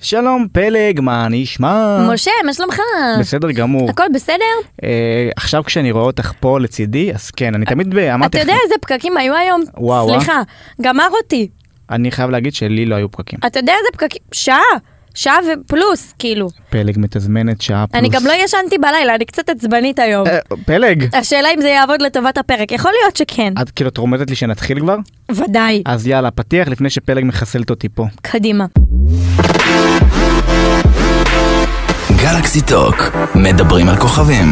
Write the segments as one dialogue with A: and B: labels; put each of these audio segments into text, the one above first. A: שלום פלג, מה נשמע?
B: משה, מה שלומך?
A: אה. בסדר גמור.
B: הכל בסדר?
A: אה, עכשיו כשאני רואה אותך פה לצידי, אז כן, אני תמיד ב- אמרתי
B: אתה
A: לך,
B: יודע איזה פקקים היו היום?
A: וואו, אה?
B: סליחה, גמר אותי.
A: אני חייב להגיד שלי לא היו פקקים.
B: אתה יודע איזה פקקים? שעה. שעה ופלוס, כאילו.
A: פלג מתזמנת שעה פלוס.
B: אני גם לא ישנתי בלילה, אני קצת עצבנית היום.
A: אה, פלג,
B: השאלה אם זה יעבוד לטובת הפרק, יכול להיות שכן.
A: את כאילו את רומזת לי שנתחיל כבר?
B: ודאי.
A: אז יאללה, פתיח לפני שפלג מחסלת אותי פה.
B: קדימה.
C: גלקסי טוק, מדברים על כוכבים.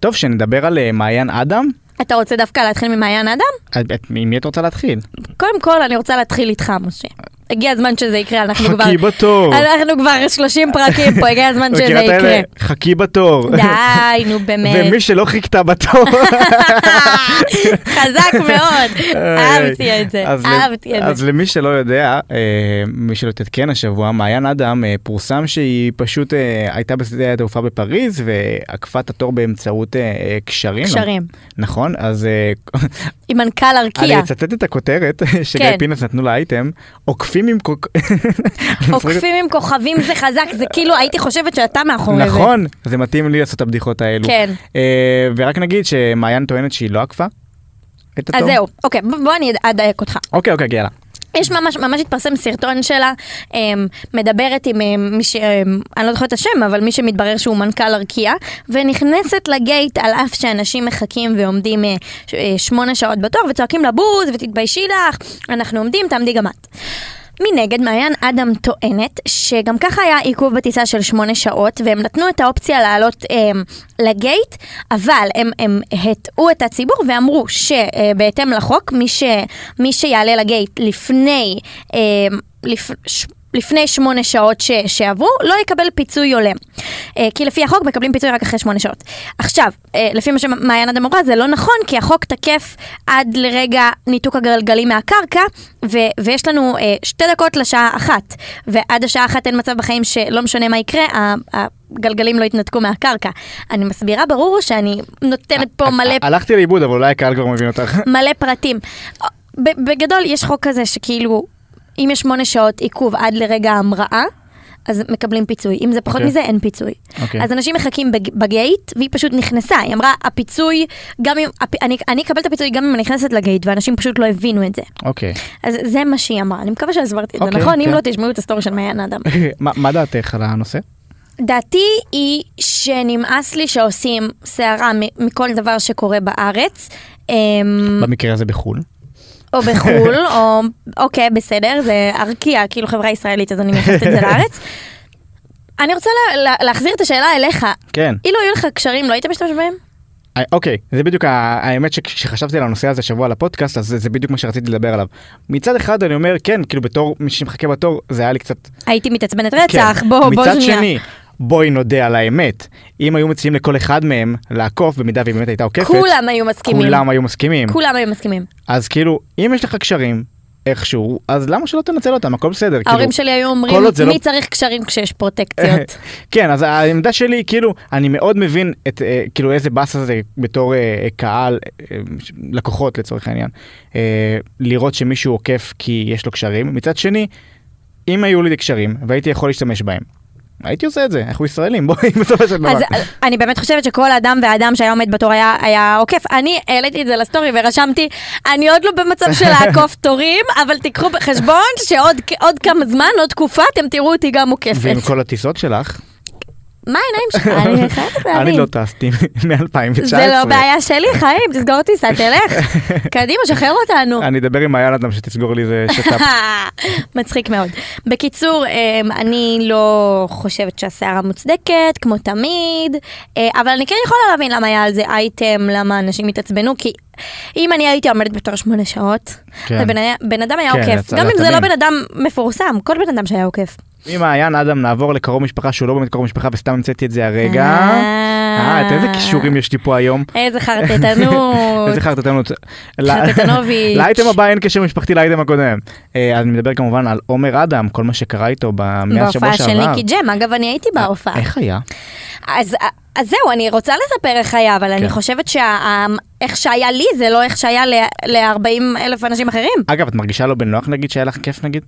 A: טוב, שנדבר על אה, מעיין אדם?
B: אתה רוצה דווקא להתחיל ממעיין אדם?
A: את- את- עם מי את רוצה להתחיל?
B: קודם כל, אני רוצה להתחיל איתך, משה. הגיע הזמן שזה יקרה, אנחנו כבר...
A: חכי בתור.
B: אנחנו כבר 30 פרקים פה, הגיע הזמן שזה
A: מכירה את האלה?
B: יקרה.
A: חכי בתור.
B: די, נו באמת.
A: ומי שלא חיכתה בתור.
B: חזק מאוד, אהבתי את זה,
A: אה, אז ל-
B: אהבתי את זה.
A: אז למי שלא יודע, אה, מי שלא תתקן השבוע, מעיין אדם אה, פורסם שהיא פשוט אה, הייתה בשדה התעופה בפריז ועקפה את התור באמצעות אה, אה, קשרים.
B: קשרים.
A: נכון, אז אה,
B: עם מנכ"ל
A: אני
B: ארקיע,
A: אצטט את הכותרת שגיא
B: כן.
A: פינס נתנו לאייטם, עוקפים עם... קוק-
B: עוקפים עם כוכבים זה חזק, זה כאילו הייתי חושבת שאתה מאחורי זה.
A: נכון, זה מתאים לי לעשות את הבדיחות האלו.
B: כן.
A: אה, ורק נגיד שמעיין טוענת שהיא לא עקפה את התור.
B: אז זהו, אוקיי, ב- בוא אני אדייק אותך.
A: אוקיי, אוקיי, יאללה.
B: יש ממש, ממש התפרסם סרטון שלה, אמ, מדברת עם אמ, מי ש... אמ, אני לא זוכרת את השם, אבל מי שמתברר שהוא מנכ"ל ארקיע, ונכנסת לגייט על אף שאנשים מחכים ועומדים אה, ש- אה, שמונה שעות בתור, וצועקים לה בוז, ותתביישי לך, אנחנו עומדים, תעמדי גם את. מנגד, מעיין אדם טוענת שגם ככה היה עיכוב בטיסה של שמונה שעות והם נתנו את האופציה לעלות הם, לגייט, אבל הם, הם הטעו את הציבור ואמרו שבהתאם לחוק, מי, ש, מי שיעלה לגייט לפני, הם, לפ, ש, לפני שמונה שעות ש, שעברו, לא יקבל פיצוי הולם. אה, כי לפי החוק מקבלים פיצוי רק אחרי שמונה שעות. עכשיו, אה, לפי מה שמעיין אדם אמרה, זה לא נכון, כי החוק תקף עד לרגע ניתוק הגלגלים מהקרקע, ו- ויש לנו אה, שתי דקות לשעה אחת, ועד השעה אחת אין מצב בחיים שלא משנה מה יקרה, ה- הגלגלים לא יתנתקו מהקרקע. אני מסבירה, ברור שאני נותנת פה מלא
A: הלכתי לאיבוד, אבל אולי הקהל כבר מבין אותך.
B: מלא פרטים. ב- בגדול יש חוק כזה שכאילו, אם יש שמונה שעות עיכוב עד לרגע ההמראה, אז מקבלים פיצוי. אם זה פחות okay.
A: אוקיי.
B: מזה, אין פיצוי.
A: אוקיי.
B: אז אנשים מחכים בג... בגייט, והיא פשוט נכנסה. היא אמרה, הפיצוי, גם אם... הפ... אני, אני אקבל את הפיצוי גם אם אני נכנסת לגייט, ואנשים פשוט לא הבינו את זה.
A: אוקיי.
B: אז זה מה שהיא אמרה. אני מקווה שהסברתי את זה,
A: אוקיי,
B: נכון? אם
A: כן.
B: לא, תשמעו את הסטורי של מעיין אדם.
A: מה מה דעתך על הנושא?
B: Mm. דעתי היא שנמאס לי שעושים סערה מ- מכל דבר שקורה בארץ. אמ,
A: במקרה הזה בחו"ל.
B: או בחו"ל, או אוקיי, בסדר, זה ארקיע, כאילו חברה ישראלית, אז אני מייחסת את זה לארץ. אני רוצה לה, לה, להחזיר את השאלה אליך.
A: כן.
B: אילו היו לך קשרים, לא היית משתמש בהם?
A: אה, אוקיי, זה בדיוק ה- האמת שכשחשבתי על הנושא הזה שבוע לפודקאסט, אז זה- זה בדיוק מה שרציתי לדבר עליו. מצד אחד אני אומר, כן, כאילו בתור מי שמחכה בתור, זה היה לי קצת...
B: הייתי מתעצבנת רצח,
A: כן.
B: בוא, בוא שנייה.
A: מצד שני, בואי נודה על האמת. אם היו מציעים לכל אחד מהם לעקוף, במידה והיא באמת הייתה עוקפת,
B: כולם היו מסכימים.
A: כולם היו מסכימים.
B: כולם היו מסכימים.
A: אז כאילו, אם יש לך קשרים, איכשהו, אז למה שלא תנצל אותם? הכל בסדר.
B: ההורים
A: כאילו,
B: שלי היו
A: כל
B: אומרים,
A: עוד זה לא-
B: מי צריך קשרים כשיש פרוטקציות?
A: כן, אז העמדה שלי, כאילו, אני מאוד מבין את, אה, כאילו, איזה באסה זה בתור אה, קהל, אה, ש- לקוחות לצורך העניין, אה, לראות שמישהו עוקף כי יש לו קשרים. מצד שני, אם היו לי קשרים והייתי יכול להשתמש בהם, הייתי עושה את זה, אנחנו ישראלים, בואי, בסופו של דבר.
B: אז אה, אני באמת חושבת שכל אדם ואדם שהיה עומד בתור היה, היה עוקף. אני העליתי את זה לסטורי ורשמתי, אני עוד לא במצב של לעקוף תורים, אבל תיקחו בחשבון שעוד עוד כמה זמן, עוד תקופה, אתם תראו אותי גם עוקפת.
A: ועם כל הטיסות שלך,
B: מה העיניים שלך? אני חייבת
A: אני
B: להבין.
A: לא טסתי מ-2019.
B: זה לא בעיה שלי, חיים, תסגור טיסה, תלך. קדימה, שחרר אותנו.
A: אני אדבר עם מעיין אדם שתסגור לי איזה שת"פ.
B: מצחיק מאוד. בקיצור, אמ, אני לא חושבת שהסערה מוצדקת, כמו תמיד, אה, אבל אני כן יכולה להבין למה היה על זה אייטם, למה אנשים התעצבנו, כי אם אני הייתי עומדת בתור שמונה שעות,
A: כן.
B: ובן היה- בן אדם היה
A: כן,
B: עוקף,
A: יצא
B: גם אם זה לא
A: לתמים.
B: בן אדם מפורסם, כל בן אדם שהיה עוקף.
A: ממעיין אדם נעבור לקרוב משפחה שהוא לא באמת קרוב משפחה וסתם המצאתי את זה הרגע.
B: אה.
A: אה, את איזה כישורים יש לי פה היום.
B: איזה חרטטנות.
A: איזה חרטטנות. ל-
B: חרטטנוביץ'.
A: לאייטם הבא אין קשר משפחתי לאייטם הקודם. אה, אז אני מדבר כמובן על עומר אדם, כל מה שקרה איתו ב- מאז שבוע
B: בהופעה של
A: שעבר. אה,
B: ניקי ג'ם, אגב, אני הייתי בהופעה.
A: איך היה? כן.
B: אז, אז זהו, אני רוצה לספר איך היה, אבל אני חושבת שהאיך איך שהיה לי, זה לא איך שהיה ל-40 אלף אנשים אחרים.
A: אגב, את מרגישה לא בנוח נגיד שהיה לך כיף נגיד?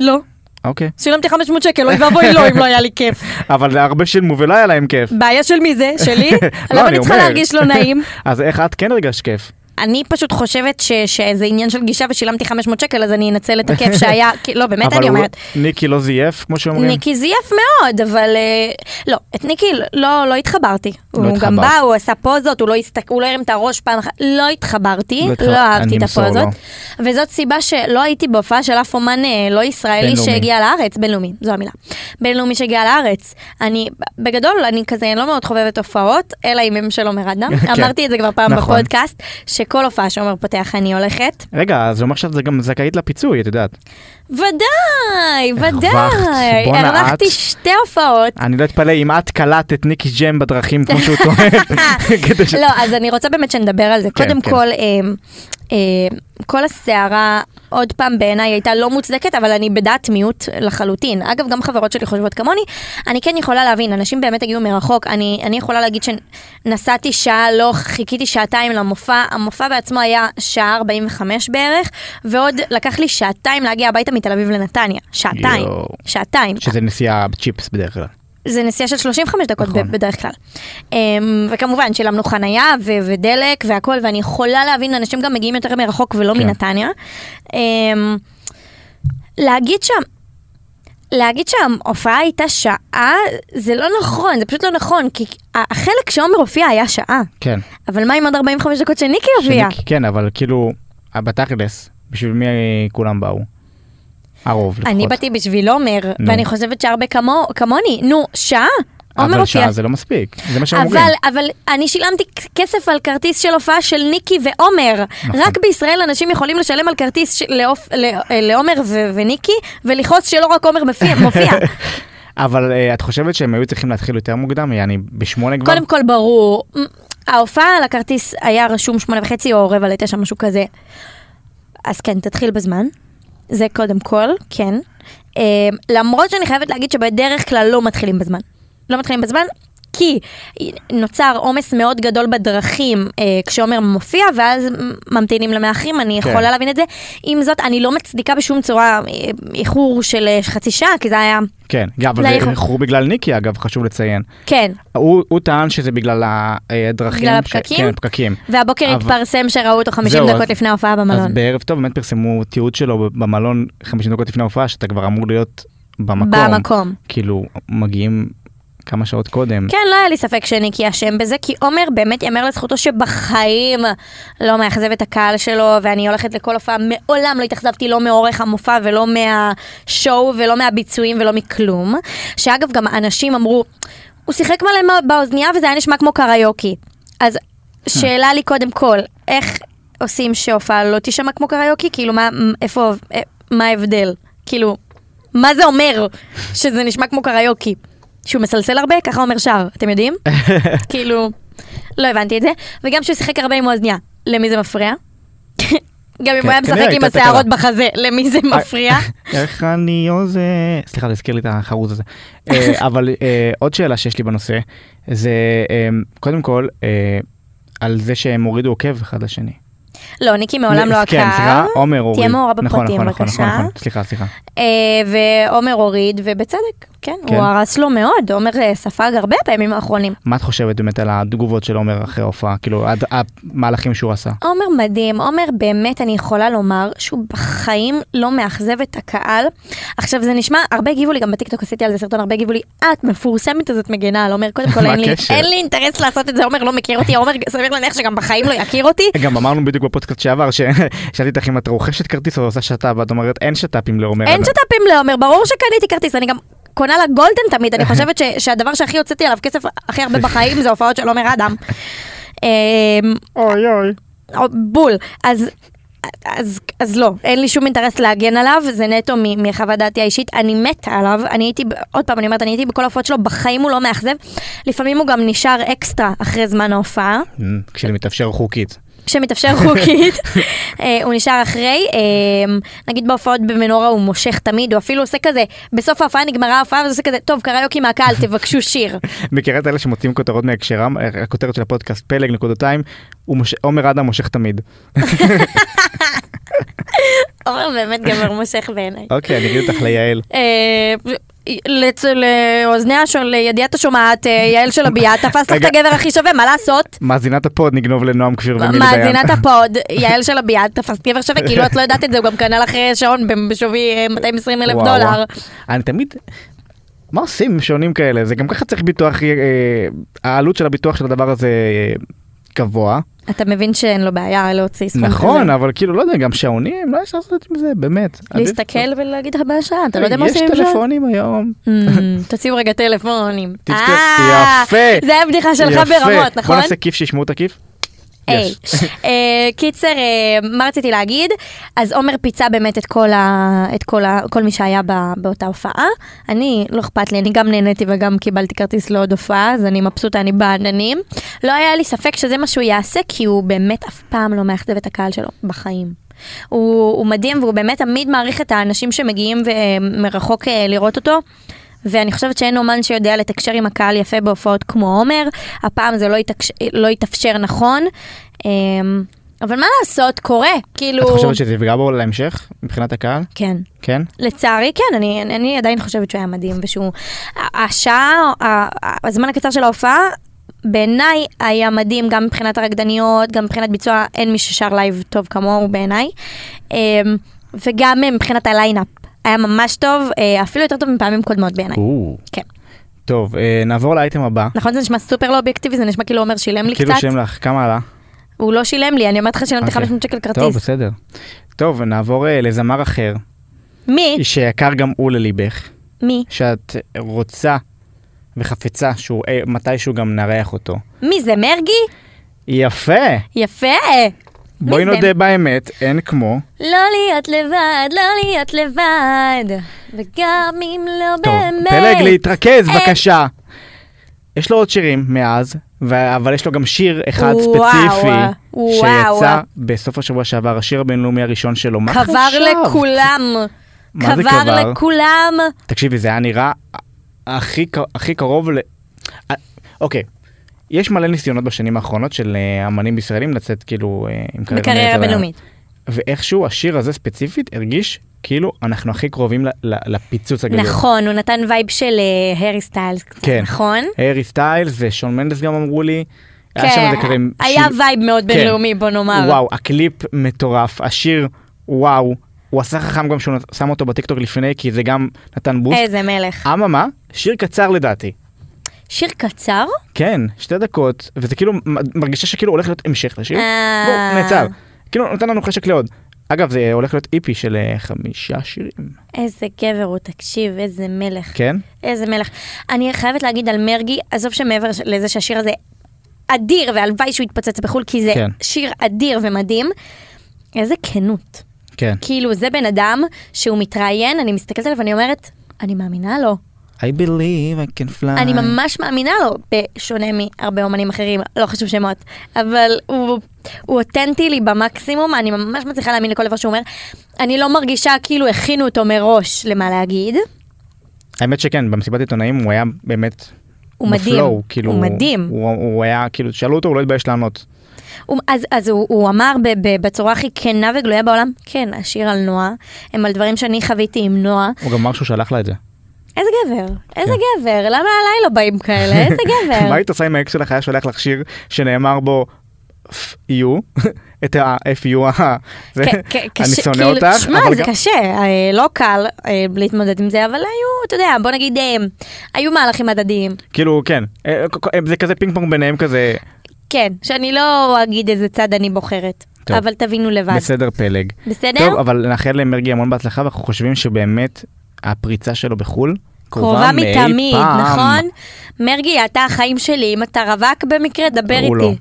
B: לא.
A: אוקיי.
B: שילמתי 500 שקל, אוי ואבוי לו אם לא היה לי כיף.
A: אבל להרבה שילמו ולא לא היה להם כיף.
B: בעיה של מי זה? שלי?
A: לא,
B: למה
A: אני
B: אני צריכה
A: אומר.
B: להרגיש לא נעים?
A: אז איך את כן הרגשת כיף?
B: אני פשוט חושבת ש- שזה עניין של גישה ושילמתי 500 שקל, אז אני אנצל את הכיף שהיה, כי- לא, באמת
A: אבל
B: אני
A: הוא-
B: אומרת.
A: ניקי לא זייף, כמו שאומרים?
B: ניקי זייף מאוד, אבל אה, לא, את ניקי לא, לא התחברתי.
A: לא
B: הוא גם
A: התחברת.
B: בא, הוא עשה פוזות, הוא לא, הסתק, הוא לא הרים את הראש פעם אחת, לא התחברתי,
A: לא
B: לא,
A: התחבר- אני
B: אהבתי את
A: אמסור
B: הפוזות. וזאת סיבה שלא הייתי בהופעה של אף אומן אה, לא ישראלי
A: בינלאומי.
B: שהגיע לארץ, בינלאומי, זו המילה. בינלאומי שהגיע לארץ. אני, בגדול, אני כזה לא מאוד חובבת הופעות, אלא אם הם של עומר אדם.
A: כן.
B: אמרתי את זה כבר פעם
A: נכון.
B: בפודקאסט, שכל הופעה שעומר פותח אני הולכת.
A: רגע, אז זה אומר שאת גם זכאית לפיצוי, את יודעת.
B: ודאי,
A: הרווחת,
B: ודאי.
A: בואנה, את-
B: הרווחתי שתי הופעות.
A: אני לא אתפלא אם את קלעת את ניקי ג'ם בדרכים כמו שהוא טוען. כדי ש-
B: לא, אז אני רוצה באמת שנדבר על זה.
A: כן,
B: קודם
A: כן.
B: כל, אמ, אמ, כל הסערה, עוד פעם, בעיניי הייתה לא מוצדקת, אבל אני בדעת מיעוט לחלוטין. אגב, גם חברות שלי חושבות כמוני. אני כן יכולה להבין, אנשים באמת הגיעו מרחוק. אני אני יכולה להגיד שנסעתי שעה, לא חיכיתי שעתיים למופע. המופע בעצמו היה שעה 45 בערך, ועוד לקח לי שעתיים להגיע הביתה מתל אביב לנתניה. שעתיים.
A: יואו.
B: שעתיים.
A: שזה נסיעה בצ'יפס בדרך כלל.
B: זה נסיעה של 35 דקות
A: נכון.
B: ב- בדרך כלל. Um, וכמובן שילמנו חנייה ו- ודלק והכל, ואני יכולה להבין, אנשים גם מגיעים יותר מרחוק ולא
A: כן.
B: מנתניה. Um, להגיד שם... להגיד שההופעה הייתה שעה, זה לא נכון, זה פשוט לא נכון, כי ה- החלק שעומר הופיע היה שעה,
A: כן.
B: אבל מה עם עוד 45 דקות שניקי הופיע?
A: שניקי- כן, אבל כאילו, בתכלס, בשביל מי כולם באו? הרוב לפחות.
B: אני באתי בשביל עומר,
A: נו.
B: ואני חושבת שהרבה כמו- כמוני, נו, שעה? עומר
A: אבל
B: הופיע
A: שעה זה לא מספיק, זה מה שהם אומרים.
B: אבל, אבל אני שילמתי כ- כסף על כרטיס של הופעה של ניקי ועומר.
A: נכון.
B: רק בישראל אנשים יכולים לשלם על כרטיס של- לאופ- לא- אה, לעומר ו- וניקי, ולכעוס שלא רק עומר מופיע. מופיע.
A: אבל אה, את חושבת שהם היו צריכים להתחיל יותר מוקדם? יעני, בשמונה כבר?
B: קודם כל ברור, מ- ההופעה על הכרטיס היה רשום שמונה וחצי או רבע לתשע, משהו כזה. אז כן, תתחיל בזמן. זה קודם כל, כן. אה, למרות שאני חייבת להגיד שבדרך כלל לא מתחילים בזמן. לא מתחילים בזמן. כי נוצר עומס מאוד גדול בדרכים אה, כשעומר מופיע ואז ממתינים למאחרים, אני
A: כן.
B: יכולה להבין את זה. עם זאת, אני לא מצדיקה בשום צורה אה, איחור של אה, חצי שעה, כי זה היה...
A: כן, גם, אבל
B: לא,
A: זה
B: יכול-
A: איחור בגלל ניקי, אגב, חשוב לציין.
B: כן.
A: הוא הוא טען שזה בגלל אה, הדרכים.
B: בגלל
A: ש-
B: הפקקים?
A: כן, פקקים. אבל-
B: והבוקר התפרסם שראו אותו 50
A: זהו, אז-
B: דקות לפני ההופעה
A: אז
B: במלון.
A: בערב טוב באמת פרסמו תיעוד שלו במלון 50 דקות לפני ההופעה, שאתה כבר אמור להיות במקום.
B: במקום.
A: כאילו, מגיעים כמה שעות קודם.
B: כן, לא היה לי ספק שניקי אשם בזה, כי עומר באמת יאמר לזכותו שבחיים לא מאכזב את הקהל שלו, ואני הולכת לכל הופעה, מעולם לא התאכזבתי לא מאורך המופע ולא מהשואו ולא מהביצועים ולא מכלום. שאגב, גם האנשים אמרו, הוא שיחק מלא באוזנייה וזה היה נשמע כמו קריוקי. אז שאלה לי קודם כל, איך עושים שהופעה לא תישמע כמו קריוקי? כאילו, מה, איפה, אה, מה ההבדל? כאילו, מה זה אומר שזה נשמע כמו קריוקי? שהוא מסלסל הרבה? ככה אומר שר, אתם יודעים? כאילו, לא הבנתי את זה. וגם שהוא שיחק הרבה עם האוזנייה, למי זה מפריע? גם אם
A: כן,
B: הוא היה
A: כנראה
B: משחק עם
A: הייתה
B: השערות
A: תקלה. אה,
B: בחזה, למי זה מפריע?
A: איך אני עוזר... סליחה, זה הזכיר לי את החרוז הזה. אה, אבל אה, עוד שאלה שיש לי בנושא, זה אה, קודם כל, אה, על זה שהם הורידו עוקב אחד לשני.
B: לא, ניקי מעולם לא
A: כן, סליחה,
B: עקר.
A: עומר הוריד.
B: תהיה מעורב
A: נכון,
B: בפרטים,
A: נכון, נכון, נכון,
B: בבקשה.
A: נכון, סליחה, סליחה.
B: אה, ועומר הוריד, ובצדק, כן,
A: כן.
B: הוא הרס לו מאוד, עומר אה, ספג הרבה בימים האחרונים.
A: מה את חושבת באמת על התגובות של עומר אחרי ההופעה? כאילו, הד- המהלכים שהוא עשה.
B: עומר מדהים, עומר באמת אני יכולה לומר שהוא בחיים לא מאכזב את הקהל. עכשיו זה נשמע, הרבה הגיבו לי, גם בטיקטוק עשיתי על זה סרטון, הרבה הגיבו לי, את מפורסמת אז את מגנה על עומר, קודם כל
A: מה
B: אין לי,
A: הקשר?
B: אין לי אינטרס לעשות את זה, עומר לא מכיר אותי, עומר סביר להניח שגם בחיים לא יכיר אותי.
A: גם אמרנו בדיוק בפודקאסט שעבר, ששאלתי אותך אם את רוכשת כרטיס או עושה שת"פ, ואת אומרת אין שת"פים לעומר.
B: אין שת"פים לעומר, ברור שקניתי כרטיס, אני גם קונה לה גולדן תמיד, אני חושבת ש- שהדבר שהכי הוצאתי עליו כסף הכי הרבה בחיים זה הופעות של עומר אדם. אמ,
A: אוי אוי.
B: או- בול. אז... אז, אז לא, אין לי שום אינטרס להגן עליו, זה נטו מ- מחוות דעתי האישית, אני מתה עליו, אני הייתי, ב- עוד פעם אני אומרת, אני הייתי בכל ההופעות שלו, בחיים הוא לא מאכזב, לפעמים הוא גם נשאר אקסטרה אחרי זמן ההופעה,
A: כשזה Mm, מתאפשר חוקית.
B: כשמתאפשר חוקית, אה, הוא נשאר אחרי. אה, נגיד בהופעות במנורה הוא מושך תמיד, הוא אפילו עושה כזה, בסוף ההופעה נגמרה ההופעה, וזה עושה כזה, טוב, קריוקי מהקהל, תבקשו שיר.
A: מכירה את אלה שמוציאים כותרות מהקשרם, אה, הכותרת של הפודקאסט פלג נקודתיים, הוא מוש- עומר אדם מושך תמיד.
B: עומר באמת גמר מושך בעיניי.
A: אוקיי, אני אגיד אותך ליעל.
B: אה, לצ- לאוזניה של לידיעת השומעת, אה, יעל של הביאה, תפס לך את
A: רגע.
B: הגבר הכי שווה, מה לעשות?
A: מאזינת הפוד נגנוב לנועם כפיר ומילי דיין.
B: מאזינת הפוד, יעל של הביאה, תפסת גבר שווה, כאילו את לא יודעת את זה, הוא גם קנה לך שעון ב- בשווי אה, 220 אלף
A: וואו,
B: דולר.
A: וואו. אני תמיד, מה עושים עם שעונים כאלה? זה גם ככה צריך ביטוח, אה, אה, העלות של הביטוח של הדבר הזה אה, גבוה.
B: אתה מבין שאין לו בעיה להוציא סכום כזה.
A: נכון, אבל כאילו, לא יודע, גם שעונים, לא אפשר לעשות עם זה, באמת. עדיף-
B: להסתכל ולהגיד לך בשעה, אתה לא יודע מה עושים עם
A: יש
B: זה?
A: טלפונים היום.
B: אמ, תוציאו רגע טלפונים.
A: תזכור-
B: אה,
A: יפה.
B: זה היה בדיחה שלך
A: יפה.
B: ברמות,
A: בוא
B: נכון?
A: נעשה כיף שישמעו את הכיף.
B: היי.
A: יש.
B: אה, קיצר, אה, מה רציתי להגיד? אז עומר פיצה באמת את כל ה- את כל ה- כל מי שהיה ב- באותה הופעה. אני, לא אכפת לי, אני גם נהניתי וגם קיבלתי כרטיס לעוד הופעה, אז אני מבסוטה, אני בעננים. לא היה לי ספק שזה מה שהוא יעשה, כי הוא באמת אף פעם לא מאכזב את הקהל שלו בחיים. הוא, הוא מדהים והוא באמת תמיד מעריך את האנשים שמגיעים אה, מרחוק אה, לראות אותו. ואני חושבת שאין אומן שיודע לתקשר עם הקהל יפה בהופעות כמו עומר, הפעם זה לא, התקש... לא התאפשר נכון, אה, אבל מה לעשות, קורה, כאילו...
A: את חושבת שזה יפגע בו להמשך, מבחינת הקהל?
B: כן.
A: כן?
B: לצערי כן, אני, אני עדיין חושבת שהוא היה מדהים ושהוא... השעה, ה- ה- הזמן הקצר של ההופעה, בעיניי היה מדהים גם מבחינת הרקדניות, גם מבחינת ביצוע, אין מי ששר לייב טוב כמוהו בעיניי. אמ, וגם מבחינת הליינאפ, היה ממש טוב, אה, אפילו יותר טוב מפעמים קודמות בעיניי.
A: או.
B: כן.
A: טוב, אה, נעבור לאייטם הבא.
B: נכון זה נשמע סופר לא אובייקטיבי, זה נשמע כאילו עומר שילם לי
A: כאילו
B: קצת,
A: שם לך, כמה עלה?
B: הוא לא שילם לי, אני אומרת לך שילמתי
A: אוקיי.
B: 500 שקל
A: טוב,
B: כרטיס.
A: בסדר. טוב, נעבור אה, לזמר אחר,
B: מי?
A: שיקר גם הוא לליבך,
B: מי?
A: שאת רוצה וחפצה שהוא אה, מתישהו גם נארח אותו.
B: מי זה מרגי?
A: יפה!
B: יפה! מי
A: בואי
B: זה?
A: נודה באמת, אין כמו.
B: לא להיות לבד, לא להיות לבד, וגם אם לא
A: טוב,
B: באמת.
A: פלג להתרכז
B: אה.
A: בבקשה. יש לו עוד שירים מאז, ו- אבל יש לו גם שיר אחד
B: וואו,
A: ספציפי,
B: וואו.
A: שיצא בסוף השבוע שעבר, השיר הבינלאומי הראשון שלו. מה
B: קבר
A: חשבת?
B: לכולם.
A: מה זה
B: קבר
A: קבר?
B: לכולם.
A: תקשיבי, זה היה נראה הכי, ק- הכי קרוב ל... אה, אוקיי, יש מלא ניסיונות בשנים האחרונות של אה, אמנים ישראלים לצאת כאילו אה, עם
B: בקריירה בינלאומית.
A: ואיכשהו השיר הזה ספציפית הרגיש כאילו אנחנו הכי קרובים ל- ל- לפיצוץ הגדול.
B: נכון, הוא נתן וייב של אה, הארי סטיילס, קצת,
A: כן.
B: נכון?
A: הארי סטיילס ושון מנדס גם אמרו לי. היה שם
B: כן,
A: איזה קרים.
B: היה וייב מאוד בינלאומי, בוא נאמר.
A: וואו, הקליפ מטורף, השיר, וואו. הוא עשה חכם גם שהוא נת- שם אותו בטיקטוק לפני, כי זה גם נתן בוסט.
B: איזה מלך.
A: אממה, שיר קצר לדעתי.
B: שיר קצר?
A: כן, שתי דקות, וזה כאילו מ- מרגישה שכאילו הולך להיות המשך לשיר.
B: אה.
A: בואו, נעצר. כאילו נותן לנו חשק לעוד. אגב, זה הולך להיות איפי של אה, חמישה שירים,
B: איזה גבר הוא, תקשיב, איזה מלך.
A: כן?
B: איזה מלך. אני חייבת להגיד על מרגי, עזוב שמעבר לזה שהשיר הזה אדיר, והלוואי שהוא יתפוצץ בחו"ל, כי זה
A: כן.
B: שיר אדיר ומדהים, איזה כנות.
A: כן.
B: כאילו, זה בן אדם שהוא מתראיין, אני מסתכלת עליו ואני אומרת, אני מאמינה לו.
A: I believe I can fly.
B: אני ממש מאמינה לו, בשונה מהרבה אומנים אחרים, לא חשוב שמות, אבל הוא, הוא אותנטי לי במקסימום, אני ממש מצליחה להאמין לכל דבר שהוא אומר. אני לא מרגישה כאילו הכינו אותו מראש למה להגיד.
A: האמת שכן, במסיבת עיתונאים הוא היה באמת...
B: הוא
A: בפלואו,
B: מדהים,
A: כאילו,
B: הוא מדהים.
A: הוא, הוא היה, כאילו, שאלו אותו, הוא לא התבייש לענות.
B: הוא, אז, אז הוא, הוא אמר ב, ב, בצורה הכי כנה וגלויה בעולם, כן, השיר על נועה, הם על דברים שאני חוויתי עם נועה.
A: הוא גם אמר שהוא שלח לה את זה.
B: איזה גבר, איזה גבר, למה עליי לא באים כאלה, איזה גבר.
A: כן. מה היית עושה אם האקס שלך היה שולח לך שיר שנאמר בו F-U, את ה-F-U, ה- זה,
B: כן, כן,
A: אני
B: קשה-
A: שונא
B: כאילו,
A: אותך,
B: שמע,
A: אבל
B: זה
A: גם-
B: קשה, אה, לא קל אה, להתמודד עם זה, אבל היו, אתה יודע, בוא נגיד, אה, היו מהלכים הדדיים.
A: כאילו, כן, אה, אה, זה כזה פינג פונג ביניהם כזה,
B: כן, שאני לא אגיד איזה צד אני בוחרת,
A: טוב.
B: אבל תבינו לבד.
A: בסדר פלג.
B: בסדר?
A: טוב, אבל נאחל למרגי המון בהצלחה, ואנחנו חושבים שבאמת הפריצה שלו בחו"ל
B: קרובה
A: מאי
B: מתמיד,
A: פעם.
B: נכון? מרגי, אתה החיים שלי, אם אתה רווק במקרה, דבר
A: הוא לא.
B: איתי.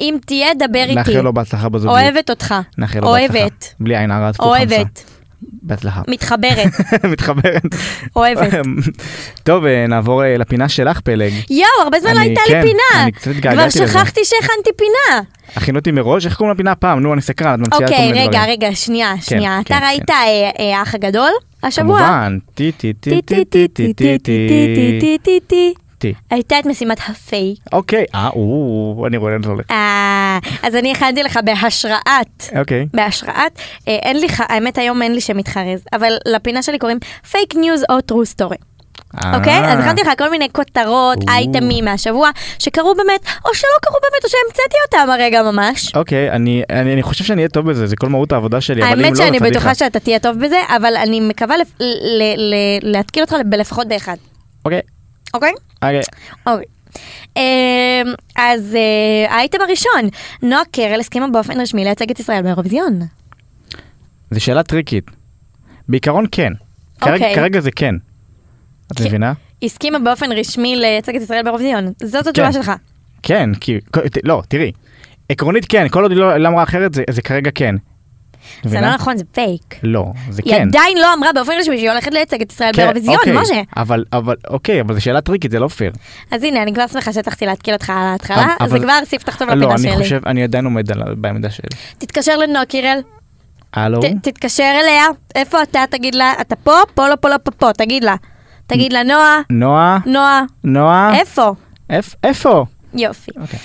B: אם תהיה, דבר איתי.
A: נאחל לו בהצלחה בזוגיות.
B: אוהבת אותך.
A: נאחל לו בהצלחה.
B: אוהבת.
A: בלי עין הרע, את כולכם
B: אוהבת.
A: בהצלחה.
B: מתחברת,
A: מתחברת.
B: אוהבת.
A: טוב, אה, נעבור אה, לפינה שלך, פלג.
B: יואו, הרבה זמן לא
A: אני-
B: הייתה
A: כן,
B: לי פינה.
A: אני קצת התגעגעתי
B: כבר
A: לזה.
B: שכחתי שהכנתי פינה.
A: הכינו אותי מראש, איך קוראים לפינה פעם? נו, אני סקרן, את ממציאה כל מיני
B: אוקיי,
A: דברים.
B: רגע, רגע, שנייה, שנייה. אתה
A: כן,
B: ראית
A: כן.
B: אה, אה, האח הגדול השבוע?
A: כמובן, טי טי טי
B: טי,
A: טי
B: טי,
A: טי טי טי
B: טי, טי,
A: טי
B: טי, טי, טי.
A: טי.
B: הייתה את משימת הפייק.
A: אוקיי, אה, או, אני רואה לאן זה הולך.
B: אה, אז אני הכנתי לך בהשראת.
A: אוקיי.
B: בהשראת, אה, אין לי, ח- האמת היום אין לי שמתחרז, אבל לפינה שלי קוראים פייק ניוז או טרו סטורי,
A: אה.
B: אוקיי? אז הכנתי לך כל מיני כותרות,
A: או.
B: אייטמים מהשבוע, שקרו באמת, או שלא קרו באמת, או שהמצאתי אותם הרגע ממש.
A: אוקיי, אני, אני, אני חושב שאני אהיה טוב בזה, זה כל מהות העבודה שלי, אבל אם לא,
B: האמת שאני
A: פדיחה.
B: בטוחה שאתה תהיה טוב בזה, אבל אני מקווה לפ- ל- ל- ל- להתקיל אותך לפחות באחד,
A: אוקיי,
B: אוקיי?
A: אוקיי.
B: אוקיי. אמ, אז אה, האייטם הראשון, נועה קרל הסכימה באופן רשמי לייצג את ישראל באירוויזיון.
A: זו שאלה טריקית. בעיקרון כן. כרגע,
B: אוקיי.
A: כרגע זה כן. את
B: כן.
A: מבינה?
B: הסכימה באופן רשמי לייצג את ישראל באירוויזיון. זאת התשובה שלך.
A: כן, כי... ת- לא, תראי. עקרונית כן, כל עוד היא לא לא אמרה אחרת, זה, זה כרגע כן.
B: זה
A: מבינה?
B: לא נכון, זה פייק.
A: לא, זה
B: היא
A: כן.
B: עדיין לא אמרה באופן רשמי שהיא הולכת לייצג את ישראל
A: כן,
B: באירוויזיון,
A: אוקיי,
B: משה.
A: אבל, אבל, אוקיי, אבל זו שאלה טריקית, זה לא פייר.
B: אז הנה, אני כבר שמחה שהצלחתי להתקיל אותך על ההתחלה,
A: אבל-
B: זה כבר ספתח טוב
A: לא,
B: לפינה
A: אני
B: שלי.
A: חושב, אני עדיין עומד על, בעמדה שלי.
B: תתקשר לנועה קירל,
A: הלו?
B: ת- תתקשר אליה, איפה אתה? תגיד לה, אתה פה? פה לא פה לא פה פה, תגיד לה. תגיד לה, נועה,
A: נועה?
B: נועה,
A: נועה?
B: איפה?
A: איפ- איפה?
B: יופי.
A: אה. אוקיי.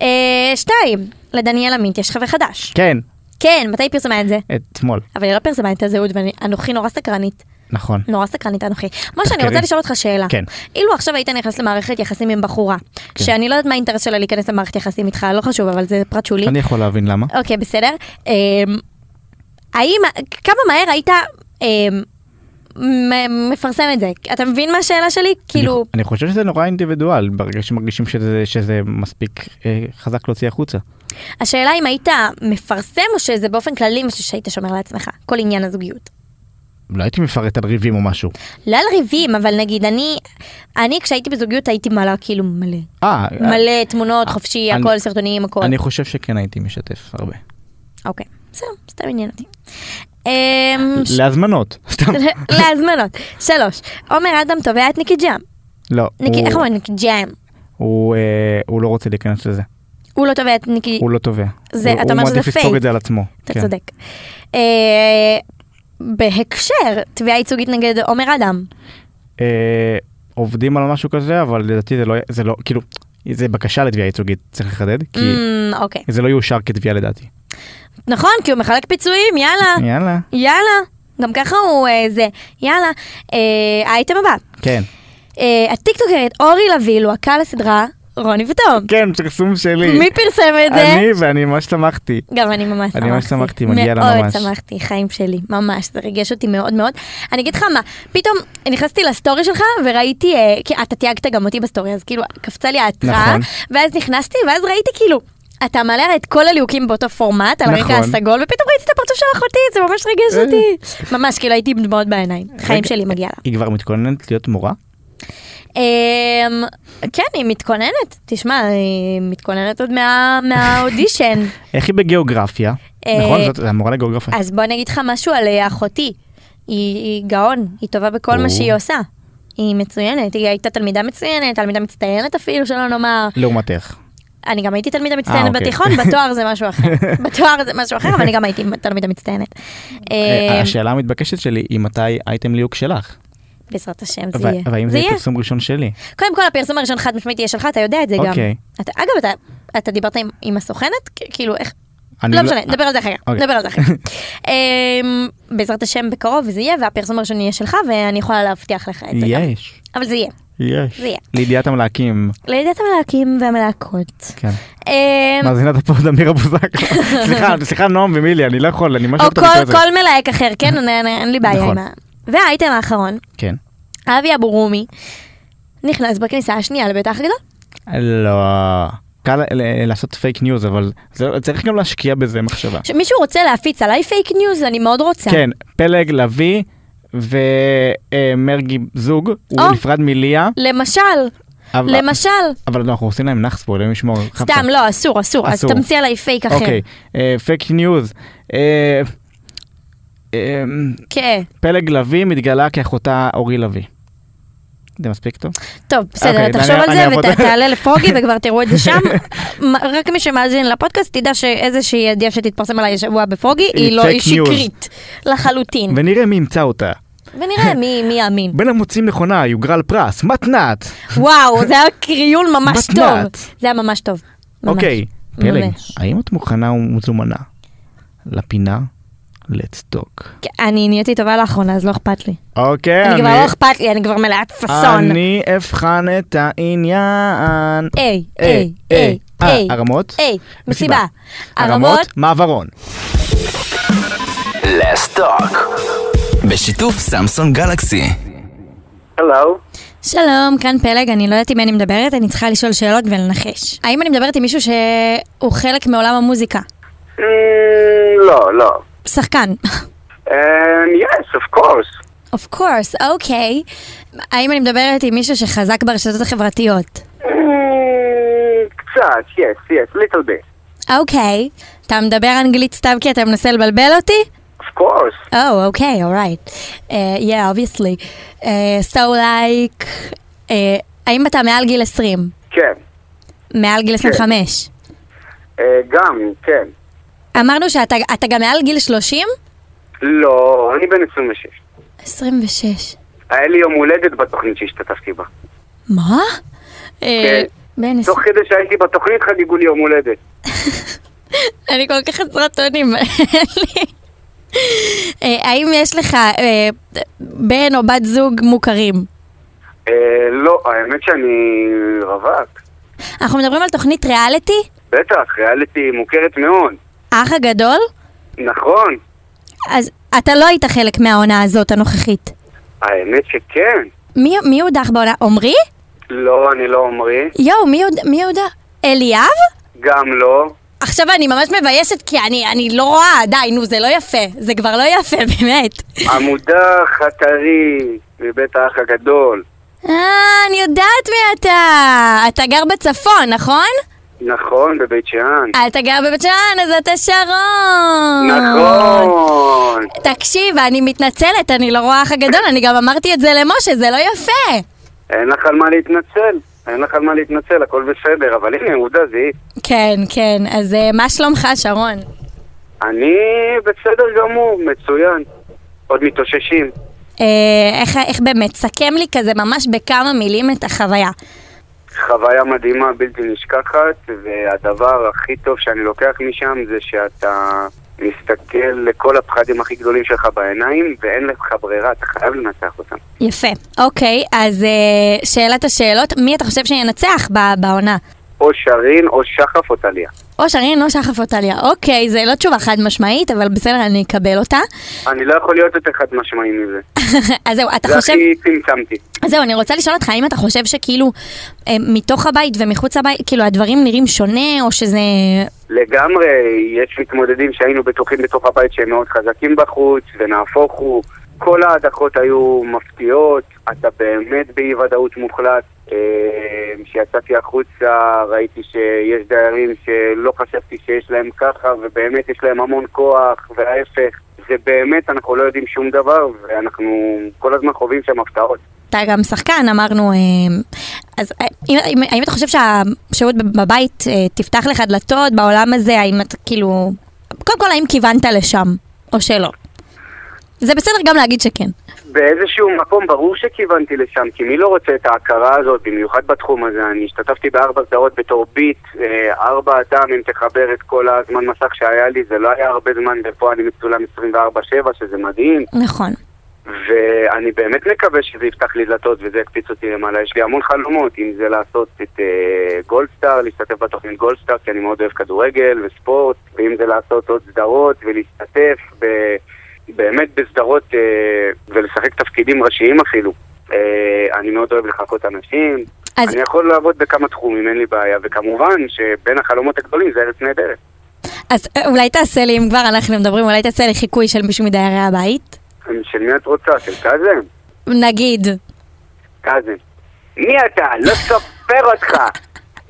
B: אה, שתיים, לדניאל עמית יש חבר חדש.
A: כן,
B: כן, מתי היא פרסמה את זה?
A: אתמול.
B: אבל היא לא פרסמה את הזהות, ואנוכי נורא סקרנית.
A: נכון.
B: נורא סקרנית אנוכי. משה, אני
A: תחקרי.
B: רוצה לשאול אותך שאלה.
A: כן.
B: אילו עכשיו היית נכנס למערכת יחסים עם בחורה,
A: כן.
B: שאני לא יודעת מה האינטרס שלה להיכנס למערכת יחסים איתך, לא חשוב, אבל זה פרט שולי.
A: אני יכול להבין למה.
B: אוקיי, בסדר. אמ, האם, כמה מהר היית אמ, מ- מפרסם את זה? אתה מבין מה השאלה שלי? כאילו,
A: אני, אני חושב שזה נורא אינדיבידואל, ברגע שמרגישים שזה, שזה מספיק אה, חזק להוציא החוצה.
B: השאלה אם היית מפרסם או שזה באופן כללי משהו שהיית שומר לעצמך, כל עניין הזוגיות.
A: לא הייתי מפרט על ריבים או משהו.
B: לא על ריבים, אבל נגיד אני, אני כשהייתי בזוגיות הייתי מעלה כאילו מלא.
A: אה,
B: מלא תמונות, חופשי,
A: אני-
B: הכל, סרטונים, הכל.
A: אני חושב שכן הייתי משתף הרבה.
B: אוקיי, בסדר, סתם עניין אותי. אמ, ש-
A: להזמנות, סתם.
B: להזמנות. שלוש, עומר אדם תובע את ניקי ג'אם.
A: לא,
B: ניקי,
A: הוא-
B: איך אומרים ניקי ג'אם?
A: הוא, אה, הוא לא רוצה להיכנס לזה,
B: הוא לא תובע את ניקי,
A: הוא לא תובע.
B: זה-
A: הוא-
B: אתה אומר
A: הוא
B: שזה
A: מעדיף לספוג
B: פייק.
A: את זה על עצמו.
B: אתה
A: כן.
B: צודק. אה, בהקשר, תביעה ייצוגית נגד עומר אדם.
A: אה, עובדים על משהו כזה, אבל לדעתי זה לא, זה לא, כאילו, זה בקשה לתביעה ייצוגית, צריך לחדד, כי
B: אמ, אוקיי.
A: זה לא יאושר כתביעה לדעתי.
B: נכון, כי הוא מחלק פיצויים, יאללה.
A: יאללה.
B: יאללה. גם ככה הוא אה, זה. יאללה. אה, האייטם הבא.
A: כן.
B: אה, הטיקטוקרית אורי לביא לוהקה לסדרה רוני ותום.
A: כן, פרסום שלי.
B: מי פרסם את זה?
A: אני ואני ממש שמחתי.
B: גם אני ממש שמחתי.
A: אני ממש שמחתי, מגיע לה ממש.
B: מאוד שמחתי, חיים שלי, ממש, זה ריגש אותי מאוד מאוד. אני אגיד לך מה, פתאום נכנסתי לסטורי שלך וראיתי, אה, כי אתה תייגת גם אותי בסטורי, אז כאילו קפצה לי ההתראה,
A: נכון.
B: ואז נכנסתי, ואז ראיתי כאילו, אתה מעלה הרי את כל הליהוקים באותו פורמט, על
A: נכון.
B: הרקע הסגול, ופתאום ראיתי את הפרצוף של אחותי, זה ממש
A: אה.
B: ריגש אותי. ממש, כאילו הייתי עם דמעות בעיניים, חיים
A: רגע,
B: שלי, מגיע לה.
A: היא כבר מתכוננת להיות מורה?
B: אמ, כן, היא מתכוננת, תשמע, היא מתכוננת עוד מה- מהאודישן.
A: איך היא בגיאוגרפיה?
B: אה,
A: נכון, זאת זה המורה לגיאוגרפיה.
B: אז בוא נגיד לך משהו על אה, אחותי. היא, היא גאון, היא טובה בכל
A: או.
B: מה שהיא עושה. היא מצוינת, היא הייתה תלמידה מצוינת, תלמידה מצטיינת אפילו, שלא נאמר.
A: לעומתך.
B: אני גם הייתי תלמידה
A: אה,
B: מצטיינת
A: אוקיי.
B: בתיכון, בתואר זה משהו אחר. בתואר זה משהו אחר, אבל אני גם הייתי תלמידה מצטיינת.
A: אה,
B: אה,
A: השאלה המתבקשת שלי היא מתי אייטם ליהוק שלך?
B: בעזרת השם,
A: ו-
B: זה יהיה.
A: והאם
B: זה
A: זה
B: יהיה.
A: פרסום ראשון שלי?
B: קודם כל, הפרסום הראשון חד משמעית יהיה שלך, אתה יודע את זה גם.
A: אוקיי.
B: אתה- אגב, אתה- אתה דיברת עם- עם הסוכנת? כ- כאילו, איך...
A: אני
B: לא משנה, נדבר על זה אחר כך,
A: אוקיי.
B: נדבר על זה אחר כך. אמ, בעזרת השם בקרוב זה יהיה, והפרסום הראשון יהיה שלך, ואני יכולה להבטיח לך את זה. גם.
A: יש,
B: אבל זה יהיה.
A: יש.
B: זה יהיה.
A: לידיעת המלהקים.
B: לידיעת המלהקים והמלהקות.
A: כן.
B: אמ,
A: מאזינת הפוד אמיר אבוזק. סליחה, סליחה נועם ומילי, אני לא יכול, אני ממש
B: או
A: אוהב את הביטוי
B: כל
A: הזה.
B: כל מלהק אחר, כן? אני- אני- אין לי בעיה
A: נכון.
B: עם ה... והאייטם האחרון,
A: כן.
B: אבי אבורומי, נכנס בכניסה השנייה לבית האח הגדול.
A: לא. קל אה, לעשות פייק ניוז, אבל זה- צריך גם להשקיע בזה מחשבה.
B: ש- מישהו רוצה להפיץ עליי פייק ניוז? אני מאוד רוצה.
A: כן, פלג לביא ומרגי זוג, הוא
B: או.
A: נפרד מליה.
B: למשל,
A: אבל-
B: למשל.
A: אבל לא, אנחנו עושים להם נאחס פה, אלוהים ישמור. חפצה.
B: סתם, לא, אסור, אסור. אז
A: אסור. אה,
B: תמציא עליי פייק אחר.
A: אוקיי, פייק ניוז. אה, אמ,
B: כן.
A: פלג לביא מתגלה כאחותה אורי לביא. זה מספיק טוב?
B: טוב, בסדר,
A: אוקיי,
B: תחשוב
A: אני-
B: על
A: אני
B: זה
A: אעבוד.
B: ותעלה לפרוגי וכבר תראו את זה שם. מ- רק מי שמאזין לפודקאסט תדע שאיזושהי ידיעה שתתפרסם עליי השבוע בפרוגי היא
A: היא
B: לא,
A: fake
B: היא
A: news.
B: שקרית לחלוטין.
A: ונראה מי ימצא אותה.
B: ונראה מי מי יאמין.
A: בין המוצאים נכונה יוגרל פרס, מתנת.
B: וואו, זה היה קריול ממש
A: מתנת.
B: טוב. זה היה ממש טוב. ממש.
A: אוקיי, פלג,
B: ממש.
A: האם את מוכנה ומזומנה לפינה? let's talk.
B: כן, אני נהייתי טובה לאחרונה, אז לא אכפת לי.
A: אוקיי,
B: אני כבר לא אכפת לי, אני כבר מלאת פאסון. אה,
A: אני אבחן את העניין.
B: היי, היי, היי,
A: אה,
B: היי.
A: ערמות?
B: היי, מסיבה.
A: ערמות,
B: ערמות,
A: מעברון.
C: Let's talk. בשיתוף סמסון גלקסי.
D: הלו,
B: שלום, כאן פלג, אני לא יודעת עם מי אני מדברת, אני צריכה לשאול שאלות ולנחש. האם אני מדברת עם מישהו שהוא חלק מעולם המוזיקה?
D: Mm, לא, לא.
B: שחקן.
D: And yes, of course.
B: of course, אוקיי. האם אני מדברת עם מישהו שחזק ברשתות החברתיות?
D: Mm, קצת, yes, yes, little bit.
B: אוקיי. אתה מדבר אנגלית סתם כי אתה מנסה לבלבל אותי?
D: Of course.
B: Oh, okay, all right. Uh, yeah, obviously. Uh, so like, uh, האם אתה מעל גיל 20?
D: כן.
B: מעל גיל 25?
D: אה, גם, כן.
B: אמרנו שאתה אתה גם מעל גיל 30?
D: לא, אני בן 26.
B: 26.
D: היה לי יום הולדת בתוכנית שהשתתפתי בה.
B: מה? אה, בן 20.
D: תוך כדי שהייתי בתוכנית חגגו לי יום הולדת.
B: אני כל כך חסרת אונים. אין לי. אה, האם יש לך אה, בן או בת זוג מוכרים?
D: אה, לא, האמת שאני רווק.
B: אנחנו מדברים על תוכנית ריאליטי?
D: בטח, ריאליטי מוכרת מאוד.
B: האח הגדול?
D: נכון,
B: אז אתה לא היית חלק מהעונה הזאת הנוכחית.
D: האמת שכן.
B: מי, מי הודח בעונה? עמרי?
D: לא, אני לא עמרי.
B: יואו, מי, הוד- מי הודח? אליאב?
D: גם לא.
B: עכשיו אני ממש מביישת כי אני, אני לא רואה, די, נו, זה לא יפה. זה כבר לא יפה, באמת.
D: המודח הטרי מבית האח הגדול.
B: אה, אני יודעת מי אתה. אתה גר בצפון, נכון?
D: נכון, בבית שאן.
B: אה, אתה גר בבית שאן, אז אתה שרון.
D: נכון.
B: תקשיב, אני מתנצלת, אני לא רואה אח הגדול, אני גם אמרתי את זה למשה, זה לא יפה.
D: אין לך על מה להתנצל. אין לך על מה להתנצל, הכל בסדר. אבל הנה, עובדה זה היא.
B: כן, כן, אז אה, מה שלומך, שרון?
D: אני בסדר גמור, מצוין. עוד מתאוששים.
B: אה, איך, איך באמת, סכם לי כזה ממש בכמה מילים את החוויה.
D: חוויה מדהימה, בלתי נשכחת, והדבר הכי טוב שאני לוקח משם זה שאתה מסתכל לכל הפחדים הכי גדולים שלך בעיניים, ואין לך ברירה, אתה חייב לנצח אותם.
B: יפה. אוקיי, אז אה, שאלת השאלות, מי אתה חושב שינצח ב- בעונה?
D: או שרין או שחף או טליה.
B: או שרין או שחף או טליה. אוקיי, זה לא תשובה חד משמעית, אבל בסדר, אני אקבל אותה.
D: אני לא יכול להיות יותר חד משמעי מזה.
B: אז זהו, אתה
D: זה
B: חושב...
D: הכי צמצמתי.
B: אז זהו, אני רוצה לשאול אותך, האם אתה חושב שכאילו אה, מתוך הבית ומחוץ לבית, כאילו הדברים נראים שונה, או שזה...
D: לגמרי, יש מתמודדים שהיינו בטוחים בתוך הבית שהם מאוד חזקים בחוץ, ונהפוך הוא. כל ההדחות היו מפתיעות, אתה באמת באי ודאות מוחלט. אה, כשיצאתי החוצה ראיתי שיש דיירים שלא חשבתי שיש להם ככה, ובאמת יש להם המון כוח, וההפך. זה באמת, אנחנו לא יודעים שום דבר, ואנחנו כל הזמן חווים שם הפתעות.
B: אתה גם שחקן, אמרנו... אה, אז אה, אם- אם- האם אתה חושב שהשהות בב- בבית אה, תפתח לך דלתות בעולם הזה, האם אתה כאילו... קודם כל, האם כיוונת לשם, או שלא? זה בסדר גם להגיד שכן.
D: באיזשהו מקום ברור שכיוונתי לשם, כי מי לא רוצה את ההכרה הזאת, במיוחד בתחום הזה. אני השתתפתי בארבע סדרות בתור ביט, אה, ארבע אדם, אם תחבר את כל הזמן מסך שהיה לי, זה לא היה הרבה זמן, ופה אני מצולם 24-7, שזה מדהים.
B: נכון.
D: ואני באמת מקווה שזה יפתח לי דלתות וזה יקפיץ אותי למעלה. יש לי המון חלומות, אם זה לעשות את אה, גולדסטאר, להשתתף בתוכנית גולדסטאר, כי אני מאוד אוהב כדורגל וספורט, ואם זה לעשות עוד סדרות ולהשתתף ב, באמת בסדרות אה, ולשחק תפקידים ראשיים אפילו. אה, אני מאוד אוהב לחקות אנשים.
B: אז-
D: אז... אני יכול לעבוד בכמה תחומים, אין לי בעיה, וכמובן שבין החלומות הגדולים זה ארץ נהדרת.
B: אז אה, אולי תעשה לי, אם כבר אנחנו מדברים, אולי תעשה לי חיקוי של מישהו מדיירי הבית?
D: של מי את רוצה? של קאזם?
B: נגיד.
D: קאזם. מי אתה? לא סופר אותך.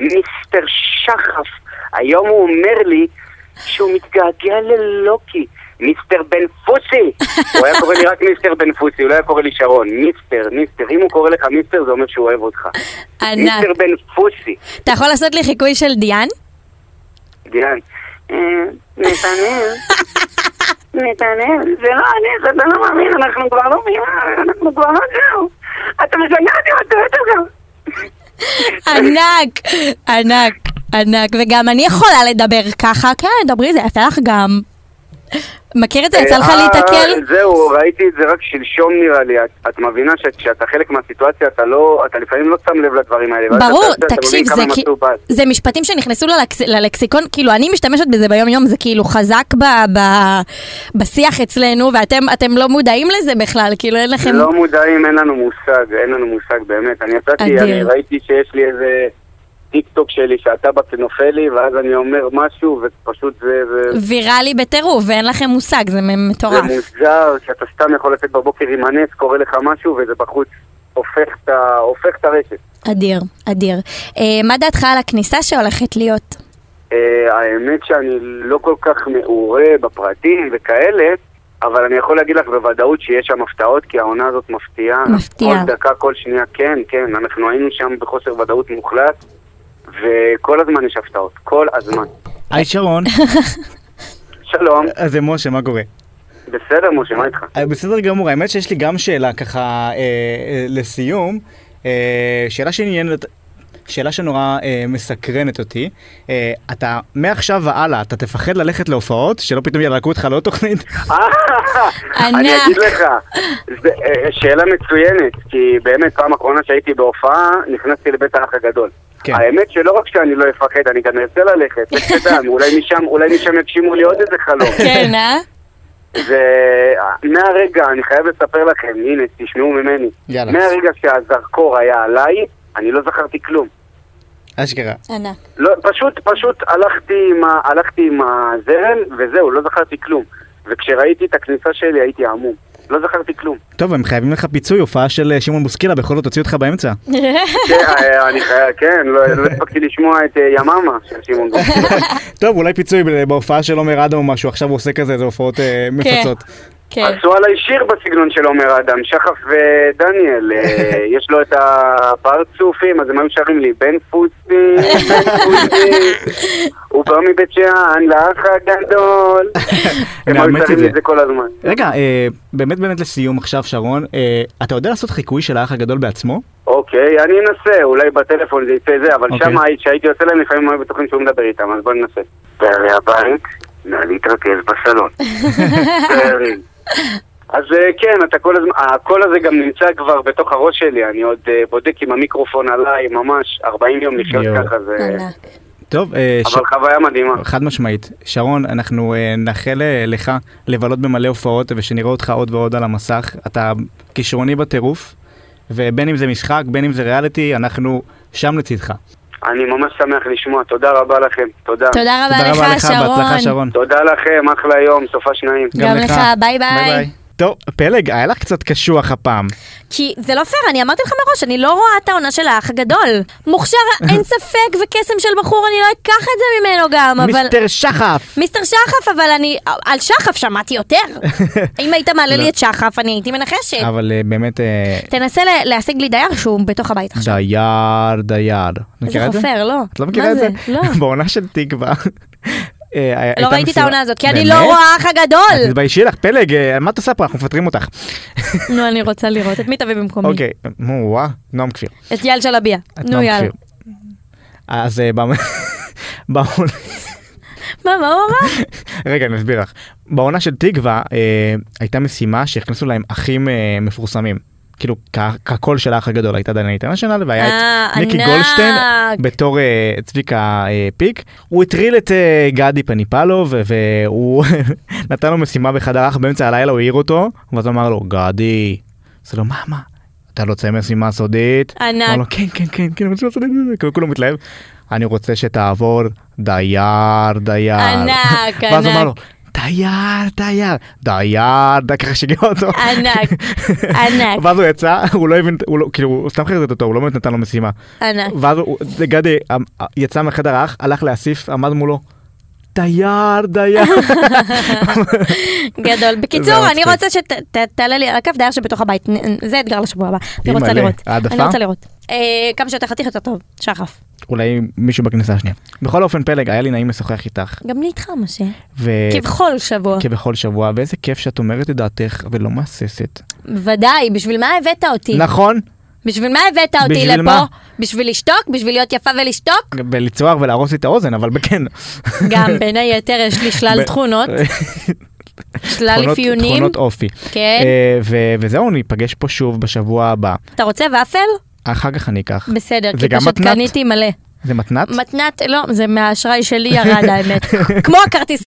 D: מיסטר שחף. היום הוא אומר לי שהוא מתגעגע ללוקי, מיסטר בן פוסי! הוא היה קורא לי רק מיסטר בן פוסי, הוא לא היה קורא לי שרון. מיסטר, מיסטר. אם הוא קורא לך מיסטר, זה אומר שהוא אוהב אותך.
B: ענק.
D: מיסטר בן פוסי.
B: אתה יכול לעשות לי חיקוי של דיאן?
D: דיאן. אה, נתנאל. נתנאל, זה לא אני, זה אתה לא מאמין, אנחנו כבר לא מילה, אנחנו כבר לא זהו. אתה משגע אותי, אתה אוהב אותך.
B: ענק, ענק, ענק. וגם אני יכולה לדבר ככה, כן, דברי זה, יצא לך גם. מכיר את זה? יצא לך
D: אה,
B: להיתקל?
D: זהו, ראיתי את זה רק שלשום נראה לי. את- את מבינה שכשאתה חלק מהסיטואציה, אתה לא, אתה לפעמים לא שם לב לדברים האלה. ואז אתה
B: ברור,
D: עושה, אתה מבין
B: תקשיב,
D: כמה
B: זה,
D: הם
B: כי-
D: עשו בעד.
B: זה משפטים שנכנסו ללקס, ללקסיקון, כאילו אני משתמשת בזה ביום יום, זה כאילו חזק ב, ב, בשיח אצלנו, ואתם אתם לא מודעים לזה בכלל, כאילו אין לכם...
D: לא מודעים, אין לנו מושג, אין לנו מושג באמת. אני יצאתי,
B: אדיר.
D: אני ראיתי שיש לי איזה טיק טוק שלי שהטבק נופל לי, ואז אני אומר משהו, ופשוט זה... זה-
B: ויראלי בטירוף, ואין לכם מושג, זה
D: זה
B: מטורף.
D: מוזר שאתה סתם יכול לצאת בבוקר עם הנס, קורה לך משהו, וזה בחוץ הופך את ה- הופך את הרשת.
B: אדיר, אדיר. אה, מה דעתך על הכניסה שהולכת להיות?
D: אה, האמת שאני לא כל כך מעורה בפרטים וכאלה, אבל אני יכול להגיד לך בוודאות שיש שם הפתעות, כי העונה הזאת מפתיעה.
B: מפתיעה.
D: כל דקה, כל שנייה, כן, כן, אנחנו היינו שם בחוסר ודאות מוחלט, וכל הזמן יש הפתעות, כל הזמן.
A: היי שרון,
D: שלום,
A: אז זה משה, מה קורה?
D: בסדר משה, מה איתך?
A: אה, בסדר גמור, האמת שיש לי גם שאלה ככה אה, אה, לסיום. אה, שאלה שעניינת, שאלה שנורא אה, מסקרנת אותי. אה, אתה מעכשיו והלאה, אתה תפחד ללכת להופעות? שלא פתאום ילהקו אותך לעוד תוכנית?
D: אני
B: ענק.
D: אגיד לך, זה, אה, שאלה מצוינת, כי באמת פעם אחרונה שהייתי בהופעה, נכנסתי לבית האח הגדול.
A: כן.
D: האמת שלא רק שאני לא אפחד, אני גם ארצה ללכת, לך תדע, אולי משם, אולי משם יגשימו לי עוד איזה חלום.
B: כן, אה?
D: ומהרגע, אני חייב לספר לכם, הנה, תשמעו ממני.
A: יאללה.
D: מהרגע שהזרקור היה עליי, אני לא זכרתי כלום.
A: אשכרה.
B: ענק.
D: לא, פשוט, פשוט הלכתי עם, ה, הלכתי עם הזרם, וזהו, לא זכרתי כלום. וכשראיתי את הכניסה שלי הייתי עמום. לא זכרתי כלום.
A: טוב, הם חייבים לך פיצוי, הופעה של אה, שמעון בוסקילה, בכל זאת הוציאו אותך באמצע.
D: כן, אה, אני חייב, כן, לא לא הספקתי לשמוע את אה, יממה של שמעון גורפין.
A: טוב, אולי פיצוי ב- בהופעה של עומר אדם או משהו, עכשיו הוא עושה כזה, איזה הופעות אה, מפצות.
B: כן.
D: עשו עליי שיר לא בסגנון של עומר אדם, שחף ודניאל, אה, יש לו את הפרצופים, אז הם היו שרים לי בן פוסי, בן פוסי, הוא בא מבית שאן לאח הגדול. הם היו
A: נאמץ את
D: שרים לי
A: זה.
D: את זה כל הזמן.
A: רגע, אה, באמת באמת לסיום עכשיו, שרון, אה, אתה יודע לעשות חיקוי של האח הגדול בעצמו?
D: אוקיי, אני אנסה, אולי בטלפון זה יצא זה, אבל
A: אוקיי.
D: שם היית- כשהייתי יוצא להם לפעמים היו בטוחים שהוא מדבר איתם, אז בוא ננסה. בעלי הבית, נא להתרכז בסלון. בעלי. אז אה, כן, אתה כל הזמן, הקול הזה גם נמצא כבר בתוך הראש שלי, אני עוד אה, בודק עם המיקרופון עליי, ממש 40 יום לחיות
A: יואו.
D: ככה, זה...
B: ענק.
A: טוב, אה, ש-
D: אבל חוויה מדהימה.
A: חד משמעית. שרון, אנחנו אה, נאחל אה, לך לבלות במלא הופעות ושנראה אותך עוד ועוד על המסך. אתה כישרוני בטירוף, ובין אם זה משחק, בין אם זה ריאליטי, אנחנו שם לצדך.
D: אני ממש שמח לשמוע, תודה רבה לכם, תודה.
B: תודה רבה
A: תודה רבה
B: לך,
A: לך, בהצלחה
B: שרון.
A: שרון.
D: תודה לכם, אחלה יום, סופה שניים.
B: גם לך, ביי ביי.
A: טוב, פלג, היה לך קצת קשוח הפעם.
B: כי זה לא פייר, אני אמרתי לך מראש, אני לא רואה את העונה של האח הגדול. מוכשר, אין ספק, וקסם של בחור, אני לא אקח את זה ממנו גם, אבל...
A: מיסטר שחף!
B: מיסטר שחף, אבל אני... על שחף שמעתי יותר. אם היית מעלה לי את שחף, אני הייתי מנחשת.
A: לא. אבל אה, באמת, אה,
B: תנסה ל- להשיג לי דייר שהוא בתוך הבית עכשיו.
A: דייר, דייר.
B: איזה
A: מכירה את
B: חופר, לא.
A: את לא מכירה את זה?
B: לא.
A: בעונה של תקווה. אה, הייתה
B: לא ראיתי את
A: מסיבה-
B: העונה הזאת, כי אני לא
A: באמת?
B: רואה אח הגדול.
A: תתביישי לך, פלג, אה, מה את עושה פה? אנחנו מפטרים אותך.
B: נו, אני רוצה לראות. את מי תביא במקומי?
A: אוקיי, נו, וואה, נועם כפיר.
B: את יעל שלביה.
A: את לא
B: נו,
A: נועם
B: יאללה.
A: כפיר. אז אה, בעונה- בעונה...
B: מה, מה, מה, מה?
A: רגע, אני אסביר לך. בעונה של תקווה אה, הייתה משימה שהכניסו להם אחים אה, מפורסמים. כאילו, כ- כקול של האח הגדול הייתה דניאל אינטרנשיונל, והיה את
B: אה,
A: ניקי
B: ענק.
A: גולדשטיין בתור אה, צביקה אה, פיק. הוא הטריל את אה, גדי פניפלוב, ו- והוא נתן לו משימה בחדר אח באמצע הלילה, הוא העיר אותו, ואז הוא אמר לו, גדי. אז הוא אמר לו, מה, מה? אתה לא רוצה משימה סודית?
B: ענק.
A: אמר לו, כן, כן, כן, כן, משימה סודית, כאילו, כולו מתלהב. אני רוצה שתעבור דייר, דייר.
B: ענק,
A: ואז הוא אמר לו,
B: ענק.
A: דייר, דייר, דייר, דייר, ככה שיגע אותו.
B: ענק, ענק.
A: ואז הוא יצא, הוא לא הבין, הוא לא, כאילו, הוא סתם חרטט אותו, הוא לא באמת נתן לו משימה.
B: ענק.
A: אה, ואז הוא- גדי אמ, יצא מהחדר האח, הלך להסיף, עמד מולו. דייר, דייר.
B: גדול. בקיצור,
A: זה
B: אני
A: מצחיק.
B: רוצה שתעלה לי על הקו דייר שבתוך הבית. נ- זה אתגר לשבוע הבא. אני
A: אימא'לה,
B: רוצה לראות.
A: העדפה?
B: אני רוצה לראות. אה, כמה שיותר חתיך יותר טוב. שחף.
A: אולי מישהו בכניסה השנייה. בכל אופן פלג היה לי נעים לשוחח איתך.
B: גם לי איתך, משה.
A: ו...
B: כבכל שבוע.
A: כבכל שבוע ואיזה כיף שאת אומרת את דעתך ולא מהססת.
B: ודאי, בשביל מה הבאת אותי?
A: נכון?
B: בשביל מה הבאת אותי
A: בשביל
B: לפה?
A: מה?
B: בשביל לשתוק? בשביל להיות יפה ולשתוק?
A: ולצוהר ולהרוס לי את האוזן אבל כן.
B: גם בין היתר יש לי שלל תכונות, שלל
A: תכונות-
B: אפיונים.
A: תכונות אופי.
B: כן.
A: אה, ו- וזהו ניפגש פה שוב בשבוע הבא.
B: אתה רוצה ופל?
A: אחר כך אני אקח.
B: בסדר,
A: זה
B: כי
A: גם
B: פשוט
A: מתנת?
B: קניתי מלא.
A: זה מתנת?
B: מתנת, לא, זה מהאשראי שלי ירד האמת. כמו הכרטיס